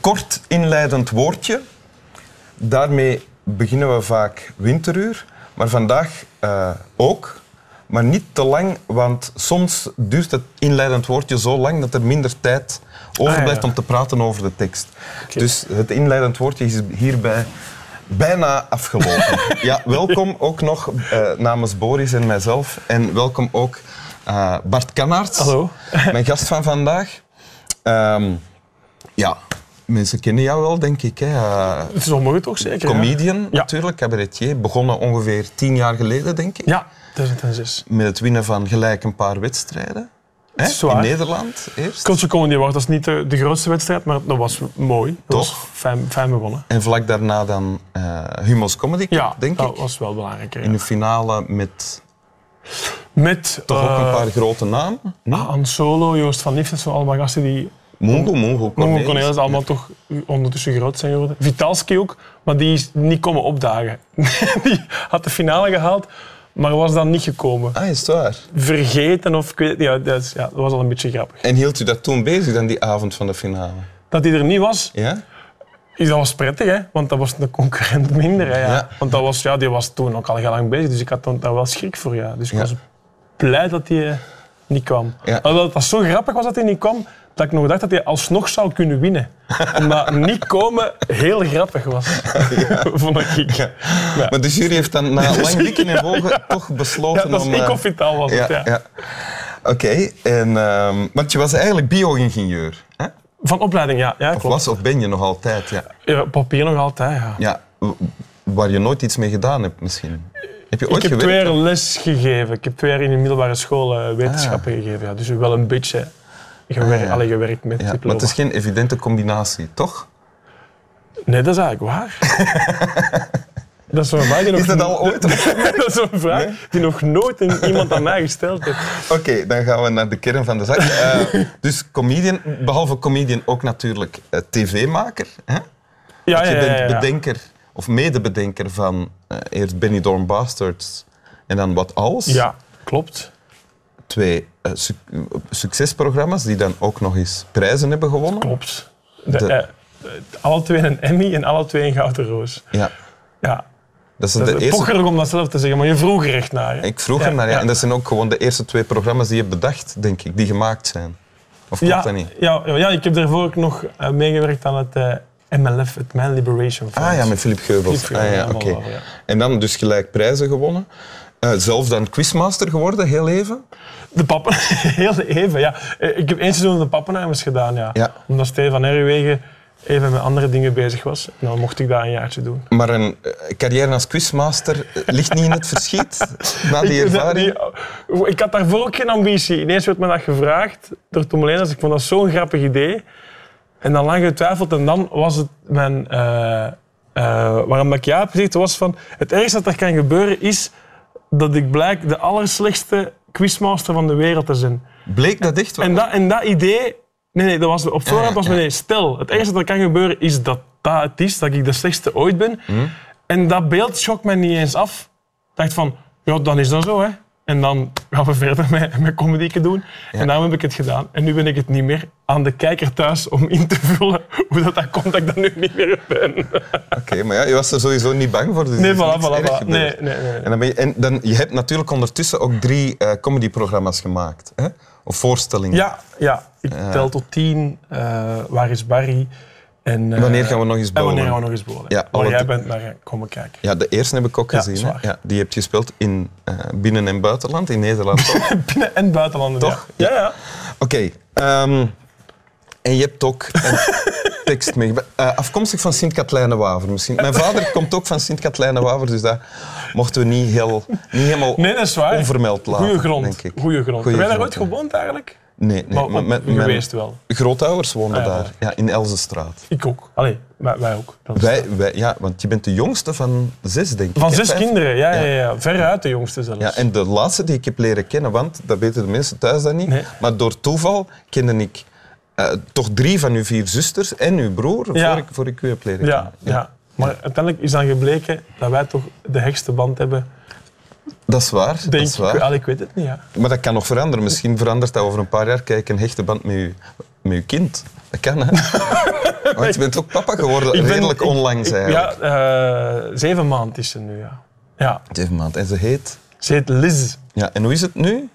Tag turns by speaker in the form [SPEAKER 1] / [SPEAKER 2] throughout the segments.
[SPEAKER 1] kort inleidend woordje. Daarmee beginnen we vaak winteruur, maar vandaag eh, ook. Maar niet te lang, want soms duurt het inleidend woordje zo lang dat er minder tijd overblijft
[SPEAKER 2] Ah, ja.
[SPEAKER 1] om te praten over de tekst. Dus het inleidend woordje is hierbij bijna afgelopen. ja, welkom ook nog eh, namens Boris en mijzelf. En welkom ook eh, Bart Kannaerts.
[SPEAKER 2] Hallo.
[SPEAKER 1] Mijn gast van vandaag. Ehm, ja, mensen kennen jou wel, denk ik. Hè. Eh,
[SPEAKER 2] Zo mag het toch zeker? ja?
[SPEAKER 1] comedian
[SPEAKER 2] Ja.
[SPEAKER 1] natuurlijk, cabaretier. Begonnen ongeveer tien jaar geleden, denk ik.
[SPEAKER 2] Ja, 2006.
[SPEAKER 1] Met het winnen van gelijk een paar wedstrijden. Hè?
[SPEAKER 2] is waar.
[SPEAKER 1] In Nederland eerst.
[SPEAKER 2] Culture Comedy Award, dat is niet de, de grootste wedstrijd, maar dat was mooi. Dat
[SPEAKER 1] Toch?
[SPEAKER 2] was fijn, fijn begonnen.
[SPEAKER 1] En vlak daarna dan eh Humo's Comedy Club,
[SPEAKER 2] Ja, nou,
[SPEAKER 1] denk
[SPEAKER 2] dat
[SPEAKER 1] ik.
[SPEAKER 2] was wel belangrijk. ja.
[SPEAKER 1] In de finale met
[SPEAKER 2] Met
[SPEAKER 1] toch ook een
[SPEAKER 2] eh,
[SPEAKER 1] paar grote namen.
[SPEAKER 2] Han Solo, Joost van Liefdes, zo allemaal gasten die
[SPEAKER 1] Mongo, Mongo
[SPEAKER 2] Mongo
[SPEAKER 1] Cornelis.
[SPEAKER 2] Cornelis allemaal toch ondertussen groot zijn geworden. Vitalski ook, maar die is niet komen opdagen. die had de finale gehaald, maar was dan niet gekomen.
[SPEAKER 1] Ah, is het waar?
[SPEAKER 2] Vergeten of ik weet ja, dat, is- ja, dat was al een beetje grappig.
[SPEAKER 1] En hield u dat toen bezig, dan die avond van de finale?
[SPEAKER 2] Dat hij er niet was,
[SPEAKER 1] Ja?
[SPEAKER 2] Is dat was prettig, hè? want dat was een concurrent minder. Hè, ja.
[SPEAKER 1] Ja.
[SPEAKER 2] Want dat was, ja, die was toen ook al heel lang bezig, dus ik had dan- daar wel schrik voor. Ja. Dus ik
[SPEAKER 1] Ja.
[SPEAKER 2] was blij dat hij eh, niet kwam.
[SPEAKER 1] Ja.
[SPEAKER 2] Alhoewel dat zo grappig was dat hij niet kwam, dat ik nog dacht dat hij alsnog zou kunnen winnen. Omdat niet komen heel grappig was, vond ik. Ja. Ja.
[SPEAKER 1] Maar de jury heeft dan na lang dikken en wogen toch besloten
[SPEAKER 2] dat was
[SPEAKER 1] om...
[SPEAKER 2] ik
[SPEAKER 1] eh,
[SPEAKER 2] of Vitaal was
[SPEAKER 1] ja,
[SPEAKER 2] het, ja.
[SPEAKER 1] ja. Oké, en, ehm, want je was eigenlijk bio-ingenieur. Hè?
[SPEAKER 2] Van opleiding, ja. ja
[SPEAKER 1] Of
[SPEAKER 2] klopt.
[SPEAKER 1] was of ben je nog altijd? Ja.
[SPEAKER 2] Ja, papier nog altijd, ja.
[SPEAKER 1] ja. w- Waar je nooit iets mee gedaan hebt misschien. Heb je ooit
[SPEAKER 2] ik heb
[SPEAKER 1] gewerkt?
[SPEAKER 2] twee jaar les gegeven. Ik heb twee jaar in de middelbare school eh, wetenschappen gegeven. Ja. Dus wel een beetje gewerkt,
[SPEAKER 1] Ah, ja.
[SPEAKER 2] allee, gewerkt met
[SPEAKER 1] Ja, maar
[SPEAKER 2] diploma.
[SPEAKER 1] het is geen evidente combinatie, toch?
[SPEAKER 2] Nee, dat is eigenlijk waar. dat is een vraag die nog...
[SPEAKER 1] Is dat al ooit? Oké,
[SPEAKER 2] dat is een vraag die nog nooit een- iemand aan mij gesteld heeft.
[SPEAKER 1] dan gaan we naar de kern van de zaak. Eh, dus comedian, behalve comedian ook natuurlijk eh, tv-maker. Hè?
[SPEAKER 2] Ja,
[SPEAKER 1] Want
[SPEAKER 2] Ah, ja,
[SPEAKER 1] je
[SPEAKER 2] ja, ja,
[SPEAKER 1] bent
[SPEAKER 2] ja.
[SPEAKER 1] bedenker of medebedenker van eh, eerst Benny Dorn Bastards en dan Wat Als.
[SPEAKER 2] Ja, klopt.
[SPEAKER 1] Twee eh, suc- eh, succesprogramma's die dan ook nog eens prijzen hebben gewonnen.
[SPEAKER 2] Klopt.
[SPEAKER 1] De-
[SPEAKER 2] De, eh, eh, alle twee een Emmy en alle twee een Gouden Roos.
[SPEAKER 1] Ja,
[SPEAKER 2] Ja,
[SPEAKER 1] dat zijn
[SPEAKER 2] dat is
[SPEAKER 1] de eerste.
[SPEAKER 2] pocherig om dat zelf te zeggen, maar je vroeg er echt naar. hè.
[SPEAKER 1] Ik vroeg er naar, ja. En dat zijn ook gewoon de eerste twee programma's die je hebt bedacht, denk ik, die gemaakt zijn. Of klopt
[SPEAKER 2] Ja,
[SPEAKER 1] dat niet?
[SPEAKER 2] ja, ja, ik heb daarvoor ook nog eh, meegewerkt aan het eh, MLF, het Man Liberation Front.
[SPEAKER 1] Ah ja, met Filip Geubels.
[SPEAKER 2] Filip Geubels,
[SPEAKER 1] ah, ja,
[SPEAKER 2] ja,
[SPEAKER 1] oké.
[SPEAKER 2] wel, ja.
[SPEAKER 1] En dan dus gelijk prijzen gewonnen. Eh, zelf dan quizmaster geworden, heel even.
[SPEAKER 2] De pappen, heel even, ja. Eh, Ik heb één seizoen de pappenheimers gedaan, ja.
[SPEAKER 1] Ja.
[SPEAKER 2] Omdat Stefan Herwegen even met andere dingen bezig was. En dan mocht ik dat een jaartje doen.
[SPEAKER 1] Maar een eh, carrière als quizmaster eh, ligt niet in het verschiet, na die
[SPEAKER 2] ik,
[SPEAKER 1] ervaring.
[SPEAKER 2] Dus, eh, die- oh, ik had daarvoor ook geen ambitie. Ineens werd me dat gevraagd door Tom Leners. Ik vond dat zo'n grappig idee. En dan lang getwijfeld. En dan was het mijn... eh, eh, waarom dat ik ja heb gezegd, was van... Het ergste dat er kan gebeuren is dat ik blijk de allerslechtste quizmaster van de wereld te zijn.
[SPEAKER 1] Bleek dat echt wel?
[SPEAKER 2] En dat, en dat idee... Nee, nee, dat was, op voorhand was mijn idee. Stel, het ergste dat kan gebeuren is dat dat het is, dat ik de slechtste ooit ben. En dat beeld schokt mij niet eens af. Ik dacht van, ja, dan is dat zo, hè. En dan gaan we verder met, met comedieke doen. En daarom heb ik het gedaan. En nu ben ik het niet meer aan de kijker thuis om in te vullen hoe dat, dat komt dat ik dat nu niet meer ben.
[SPEAKER 1] Oké, maar ja, je was er sowieso niet bang voor. Dus er
[SPEAKER 2] Nee,
[SPEAKER 1] is
[SPEAKER 2] voilà,
[SPEAKER 1] niks
[SPEAKER 2] voilà,
[SPEAKER 1] erg
[SPEAKER 2] voilà. Nee,
[SPEAKER 1] gebeurd.
[SPEAKER 2] nee, nee. nee.
[SPEAKER 1] En, dan ben je, en dan, je hebt natuurlijk ondertussen ook drie eh, comedyprogramma's gemaakt. Hè? Of voorstellingen.
[SPEAKER 2] Ja, ja, ik tel tot tien. eh, waar is Barry? En, eh,
[SPEAKER 1] Wanneer gaan we nog eens
[SPEAKER 2] En wanneer
[SPEAKER 1] bowlen?
[SPEAKER 2] gaan we nog eens bowlen?
[SPEAKER 1] Ja,
[SPEAKER 2] Waar
[SPEAKER 1] alle
[SPEAKER 2] jij
[SPEAKER 1] drie.
[SPEAKER 2] bent naar komen kijken.
[SPEAKER 1] Ja, de eerste heb ik ook
[SPEAKER 2] Ja,
[SPEAKER 1] gezien.
[SPEAKER 2] zwaar.
[SPEAKER 1] Hè? Ja, die heb je gespeeld in eh, binnen- en buitenland, in Nederland ook.
[SPEAKER 2] Binnen- en buitenlanden,
[SPEAKER 1] Toch?
[SPEAKER 2] Ja, ja. ja.
[SPEAKER 1] Oké. ehm, en je hebt ook een tekst meegebracht. Eh, afkomstig van Sint-Katlijnen-Waver misschien. Mijn vader komt ook van Sint-Katlijnen-Waver, dus dat mochten we niet, heel, niet helemaal...
[SPEAKER 2] Nee, dat is waar.
[SPEAKER 1] Onvermeld laten,
[SPEAKER 2] Goeie grond.
[SPEAKER 1] denk ik.
[SPEAKER 2] Goeie grond.
[SPEAKER 1] Goeie
[SPEAKER 2] Heb jij daar
[SPEAKER 1] grond,
[SPEAKER 2] ooit gewoond eigenlijk?
[SPEAKER 1] Nee, nee.
[SPEAKER 2] Maar
[SPEAKER 1] maar
[SPEAKER 2] op-
[SPEAKER 1] met-
[SPEAKER 2] geweest wel.
[SPEAKER 1] grootouders woonden
[SPEAKER 2] Ah, ja,
[SPEAKER 1] daar, ja, in Elzenstraat.
[SPEAKER 2] Ik ook. Allee, wij, wij ook. Dat is-
[SPEAKER 1] Wij, wij, ja, want je bent de jongste van zes, denk ik.
[SPEAKER 2] Van
[SPEAKER 1] hè?
[SPEAKER 2] zes
[SPEAKER 1] Vijf?
[SPEAKER 2] kinderen, ja, ja. Ja, ja. Veruit de jongste zelfs.
[SPEAKER 1] Ja, en de laatste die ik heb leren kennen, want dat weten de mensen thuis dat niet,
[SPEAKER 2] Nee.
[SPEAKER 1] maar door toeval kende ik eh, toch drie van uw vier zusters en uw broer
[SPEAKER 2] Ja.
[SPEAKER 1] voor, ik, voor ik u heb leren
[SPEAKER 2] ja,
[SPEAKER 1] kennen.
[SPEAKER 2] ja. Maar uiteindelijk is dan gebleken dat wij toch de hechtste band hebben
[SPEAKER 1] Dat is waar. dat
[SPEAKER 2] Denk
[SPEAKER 1] is waar.
[SPEAKER 2] ik, Allee, ik weet het niet. Ja.
[SPEAKER 1] Maar dat kan nog veranderen. Misschien verandert dat over een paar jaar. Kijk, een hechte band met je, met je kind. Dat kan, hè? Want je bent ook papa geworden,
[SPEAKER 2] Ik ben-
[SPEAKER 1] redelijk
[SPEAKER 2] ik-
[SPEAKER 1] onlangs
[SPEAKER 2] ik-
[SPEAKER 1] eigenlijk.
[SPEAKER 2] Ja, eh, zeven maanden is ze nu, ja. Ja,
[SPEAKER 1] Zeven maanden. En ze heet...
[SPEAKER 2] ze heet Liz.
[SPEAKER 1] Ja, en hoe is het nu?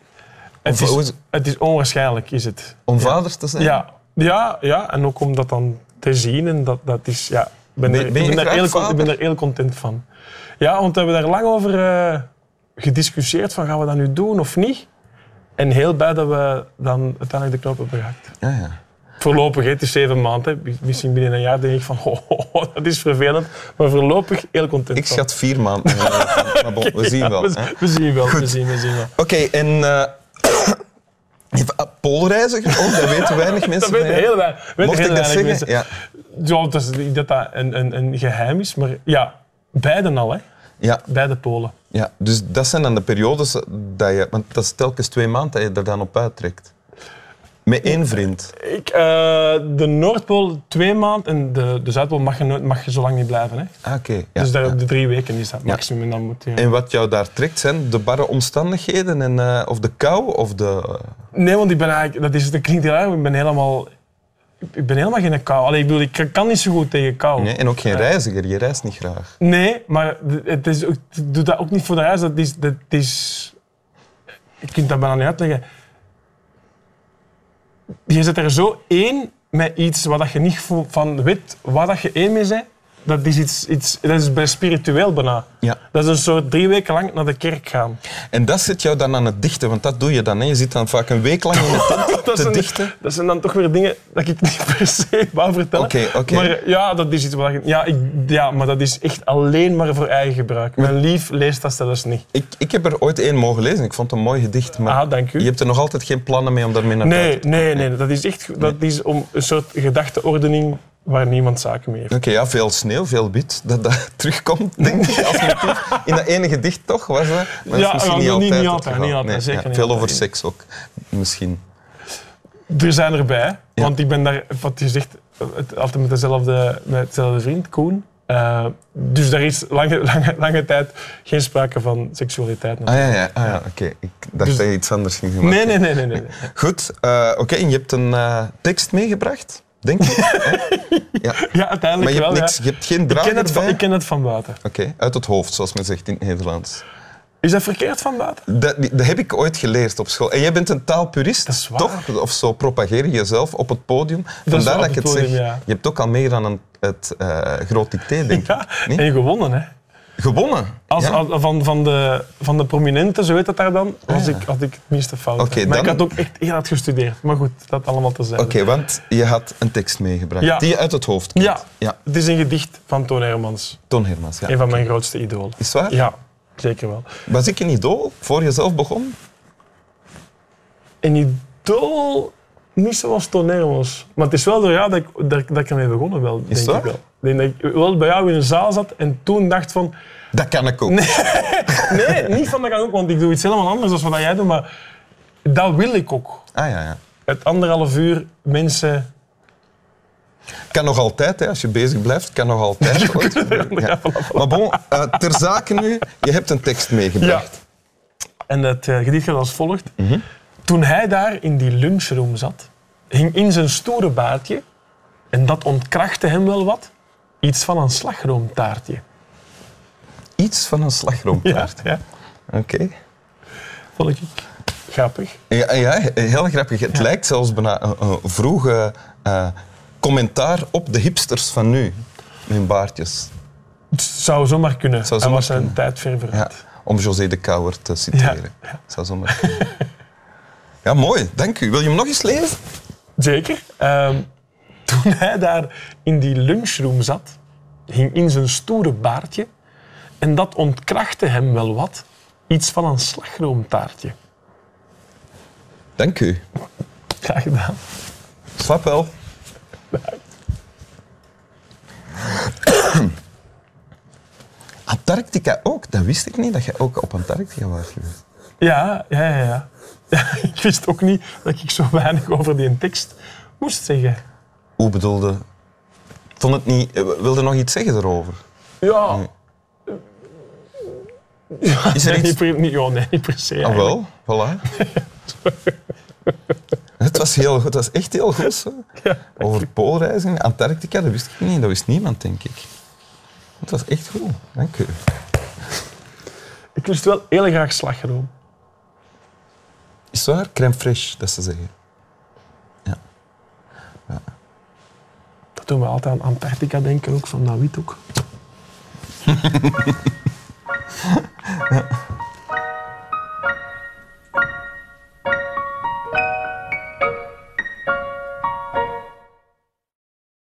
[SPEAKER 2] Het
[SPEAKER 1] hoe
[SPEAKER 2] is,
[SPEAKER 1] is-
[SPEAKER 2] het is onwaarschijnlijk, is het.
[SPEAKER 1] Om vader te zijn?
[SPEAKER 2] Ja, ja, ja, en ook om dat dan te zien. En dat, dat is, ja, ik ben,
[SPEAKER 1] Ben-
[SPEAKER 2] er, ik
[SPEAKER 1] ben je
[SPEAKER 2] ben er
[SPEAKER 1] graag
[SPEAKER 2] heel, con- ik ben
[SPEAKER 1] vader?
[SPEAKER 2] er heel content van. Ja, want we hebben daar lang over eh, gediscussieerd van gaan we dat nu doen of niet. En heel blij dat we dan uiteindelijk de knoop hebben gehakt.
[SPEAKER 1] Ja, ja.
[SPEAKER 2] Voorlopig, hè, het is zeven maanden. hè. Misschien binnen een jaar denk ik van, oh, oh, oh, dat is vervelend. Maar voorlopig heel content
[SPEAKER 1] Ik
[SPEAKER 2] van.
[SPEAKER 1] schat vier maanden. Eh, maar bon, we zien wel. hè.
[SPEAKER 2] We, we zien wel, we zien, we zien wel.
[SPEAKER 1] Oké, en... eh, Even ah, Poolreiziger? Oh, dat weten weinig mensen.
[SPEAKER 2] Dat weten
[SPEAKER 1] van jou.
[SPEAKER 2] heel weinig, weten
[SPEAKER 1] Mocht
[SPEAKER 2] heel
[SPEAKER 1] ik dat
[SPEAKER 2] weinig
[SPEAKER 1] zeggen?
[SPEAKER 2] mensen.
[SPEAKER 1] Ja.
[SPEAKER 2] Ja, dat is niet dat dat een, een, een geheim is, maar ja, beiden al, hè?
[SPEAKER 1] Ja,
[SPEAKER 2] Beide Polen.
[SPEAKER 1] ja, dus dat zijn dan de periodes dat je... Want dat is telkens twee maanden dat je er dan op uittrekt. Met één vriend.
[SPEAKER 2] Ik, eh, de Noordpool twee maanden en de, de Zuidpool mag je, nooit, mag je zo lang niet blijven. Hè?
[SPEAKER 1] Ah, oké. ja,
[SPEAKER 2] dus daar,
[SPEAKER 1] ja.
[SPEAKER 2] de drie weken is dat maximum. En dan moet je...
[SPEAKER 1] En wat jou daar trekt zijn de barre omstandigheden en, eh, of de kou of de...
[SPEAKER 2] Nee, want ik ben eigenlijk, dat, is, dat klinkt heel erg, maar ik ben helemaal, ik- ik ben helemaal geen kou. Allee, ik bedoel, ik kan- kan niet zo goed tegen kou.
[SPEAKER 1] Nee, en ook geen reiziger, je reist niet graag.
[SPEAKER 2] Nee, maar het is, ook- ik doe dat ook niet voor de reis. Dat is, dat is, ik kan dat bijna niet uitleggen. Je zit er zo één met iets waar dat je niet vo- van weet waar dat je één mee bent. Dat is, iets, iets, dat is bij spiritueel bijna.
[SPEAKER 1] Ja.
[SPEAKER 2] Dat is een soort drie weken lang naar de kerk gaan.
[SPEAKER 1] En dat zit jou dan aan het dichten, want dat doe je dan. Hè. Je zit dan vaak een week lang in de tent
[SPEAKER 2] Dat
[SPEAKER 1] te
[SPEAKER 2] zijn,
[SPEAKER 1] dichten.
[SPEAKER 2] dat zijn dan toch weer dingen dat ik niet per se wou vertellen.
[SPEAKER 1] Oké, oké.
[SPEAKER 2] Maar ja, dat is iets wat ik, ja, ik, ja, maar dat is echt alleen maar voor eigen gebruik. Mijn lief leest dat zelfs niet.
[SPEAKER 1] Ik, ik heb er ooit één mogen lezen, ik vond het een mooi gedicht, maar
[SPEAKER 2] Ah, dank u.
[SPEAKER 1] je hebt er nog altijd geen plannen mee om daarmee naar
[SPEAKER 2] Nee,
[SPEAKER 1] buiten te
[SPEAKER 2] nee, nee. Dat is echt dat is om een soort gedachteordening waar niemand zaken mee heeft.
[SPEAKER 1] Oké, ja, veel sneeuw, veel wit, dat dat terugkomt, denk ik, als motief. In dat ene gedicht toch, was dat? Maar dat is
[SPEAKER 2] Ja,
[SPEAKER 1] misschien
[SPEAKER 2] ja,
[SPEAKER 1] niet
[SPEAKER 2] niet-
[SPEAKER 1] altijd
[SPEAKER 2] niet
[SPEAKER 1] het
[SPEAKER 2] altijd,
[SPEAKER 1] geval.
[SPEAKER 2] niet altijd, zeker niet
[SPEAKER 1] Veel
[SPEAKER 2] altijd.
[SPEAKER 1] over seks ook, misschien.
[SPEAKER 2] Er zijn erbij, want ik ben daar, wat je zegt, het- altijd met dezelfde, met dezelfde vriend, Koen. Eh, dus daar is lange, lange, lange tijd geen sprake van seksualiteit.
[SPEAKER 1] Ah ja, ja, ah, ja oké. Ik dacht
[SPEAKER 2] Dus-
[SPEAKER 1] dat je iets anders ging maken.
[SPEAKER 2] nee, nee, nee, nee, nee. nee.
[SPEAKER 1] Goed, eh, oké, en je hebt een eh, tekst meegebracht, denk ik. hè? ja.
[SPEAKER 2] Ja, uiteindelijk
[SPEAKER 1] Maar je hebt,
[SPEAKER 2] wel. ja.
[SPEAKER 1] niks, je hebt geen
[SPEAKER 2] Ik
[SPEAKER 1] draad
[SPEAKER 2] ken, het van,
[SPEAKER 1] erbij?
[SPEAKER 2] ik ken het van buiten.
[SPEAKER 1] Oké, uit het hoofd, zoals men zegt in het Nederlands.
[SPEAKER 2] Is dat verkeerd van buiten?
[SPEAKER 1] Dat, dat heb ik ooit geleerd op school. En jij bent een taalpurist,
[SPEAKER 2] Dat is waar.
[SPEAKER 1] toch? Of zo propageer je jezelf op het podium. Vandaar
[SPEAKER 2] waar,
[SPEAKER 1] dat
[SPEAKER 2] op
[SPEAKER 1] ik
[SPEAKER 2] het
[SPEAKER 1] het
[SPEAKER 2] podium,
[SPEAKER 1] zeg.
[SPEAKER 2] ja.
[SPEAKER 1] Je hebt ook al meer dan een, het eh groot dicté, denk ik.
[SPEAKER 2] Ja,
[SPEAKER 1] Nee?
[SPEAKER 2] en gewonnen, hè.
[SPEAKER 1] Gewonnen.
[SPEAKER 2] Als,
[SPEAKER 1] Ja.
[SPEAKER 2] als- van, van, de, van de prominenten, zo heet dat daar dan, was
[SPEAKER 1] Ah, ja.
[SPEAKER 2] ik, had ik het minste fout.
[SPEAKER 1] Oké,
[SPEAKER 2] maar ik
[SPEAKER 1] dan-
[SPEAKER 2] had ook echt heel hard gestudeerd. Maar goed, dat allemaal te zeggen.
[SPEAKER 1] Oké, want je had een tekst meegebracht
[SPEAKER 2] Ja.
[SPEAKER 1] die je uit het hoofd kent.
[SPEAKER 2] Ja. Het is een gedicht van Toon Hermans,
[SPEAKER 1] Toon Hermans, ja.
[SPEAKER 2] een van mijn grootste idolen.
[SPEAKER 1] Is het waar?
[SPEAKER 2] Ja, zeker wel.
[SPEAKER 1] Was ik een idool voor jezelf begon?
[SPEAKER 2] Een idool, niet zoals Toon Hermans. Maar het is wel door jou dat ik, dat, ik- dat ik ermee begonnen wel,
[SPEAKER 1] Is het
[SPEAKER 2] denk ik
[SPEAKER 1] waar?
[SPEAKER 2] wel. Ik denk dat ik wel bij jou in een zaal zat en toen dacht van...
[SPEAKER 1] Dat kan ik ook.
[SPEAKER 2] Nee, niet van dat kan ook, want ik doe iets helemaal anders dan wat jij doet, maar dat wil ik ook.
[SPEAKER 1] Ah ja, ja.
[SPEAKER 2] Het anderhalf uur mensen...
[SPEAKER 1] Kan nog altijd, hè, als je bezig blijft, kan nog altijd. ooit gebeuren, ja. Maar bon, eh, ter zake nu, je hebt een tekst meegebracht.
[SPEAKER 2] En het eh, gedicht gaat als volgt. Toen hij daar in die lunchroom zat, hing in zijn stoere baardje, en dat ontkrachtte hem wel wat, iets van een slagroomtaartje.
[SPEAKER 1] Iets van een slagroompaard.
[SPEAKER 2] ja.
[SPEAKER 1] Oké.
[SPEAKER 2] Vond ik grappig.
[SPEAKER 1] Ja, ja, heel grappig. Het lijkt zelfs bijna een, een vroege eh, commentaar op de hipsters van nu. Met hun baartjes.
[SPEAKER 2] Het zou zomaar kunnen.
[SPEAKER 1] zou
[SPEAKER 2] hij
[SPEAKER 1] zomaar
[SPEAKER 2] was zijn tijd ver
[SPEAKER 1] Ja,
[SPEAKER 2] vooruit.
[SPEAKER 1] om José de Kouwer te citeren. Zou zomaar kunnen. Ja, mooi. Dank u. Wil je hem nog eens lezen?
[SPEAKER 2] Zeker. Ehm, toen hij daar in die lunchroom zat, hing in zijn stoere baardje. En dat ontkrachtte hem wel wat. Iets van een slagroomtaartje.
[SPEAKER 1] Dank u.
[SPEAKER 2] Graag gedaan.
[SPEAKER 1] Slap wel. Antarctica ook? Dat wist ik niet, dat je ook op Antarctica was geweest.
[SPEAKER 2] Ja, ja, ja. ja. ik wist ook niet dat ik zo weinig over die tekst moest zeggen.
[SPEAKER 1] Hoe bedoelde... Vond het niet... eh, Wilde nog iets zeggen erover?
[SPEAKER 2] Ja.
[SPEAKER 1] Is er
[SPEAKER 2] Nee,
[SPEAKER 1] iets...
[SPEAKER 2] niet per, niet, ja, nee, niet per se.
[SPEAKER 1] Ah,
[SPEAKER 2] eigenlijk.
[SPEAKER 1] wel, voilà. het was heel goed, het was echt heel goed. Zo. Over poolreizen, Antarctica, dat wist ik niet, dat wist niemand, denk ik. Het was echt goed, dank u.
[SPEAKER 2] Ik lust wel heel graag slagroom.
[SPEAKER 1] Is het waar? Crème fraîche, dat ze zeggen.
[SPEAKER 2] Dat doen we altijd aan Antarctica denken, ook van dat wit ook.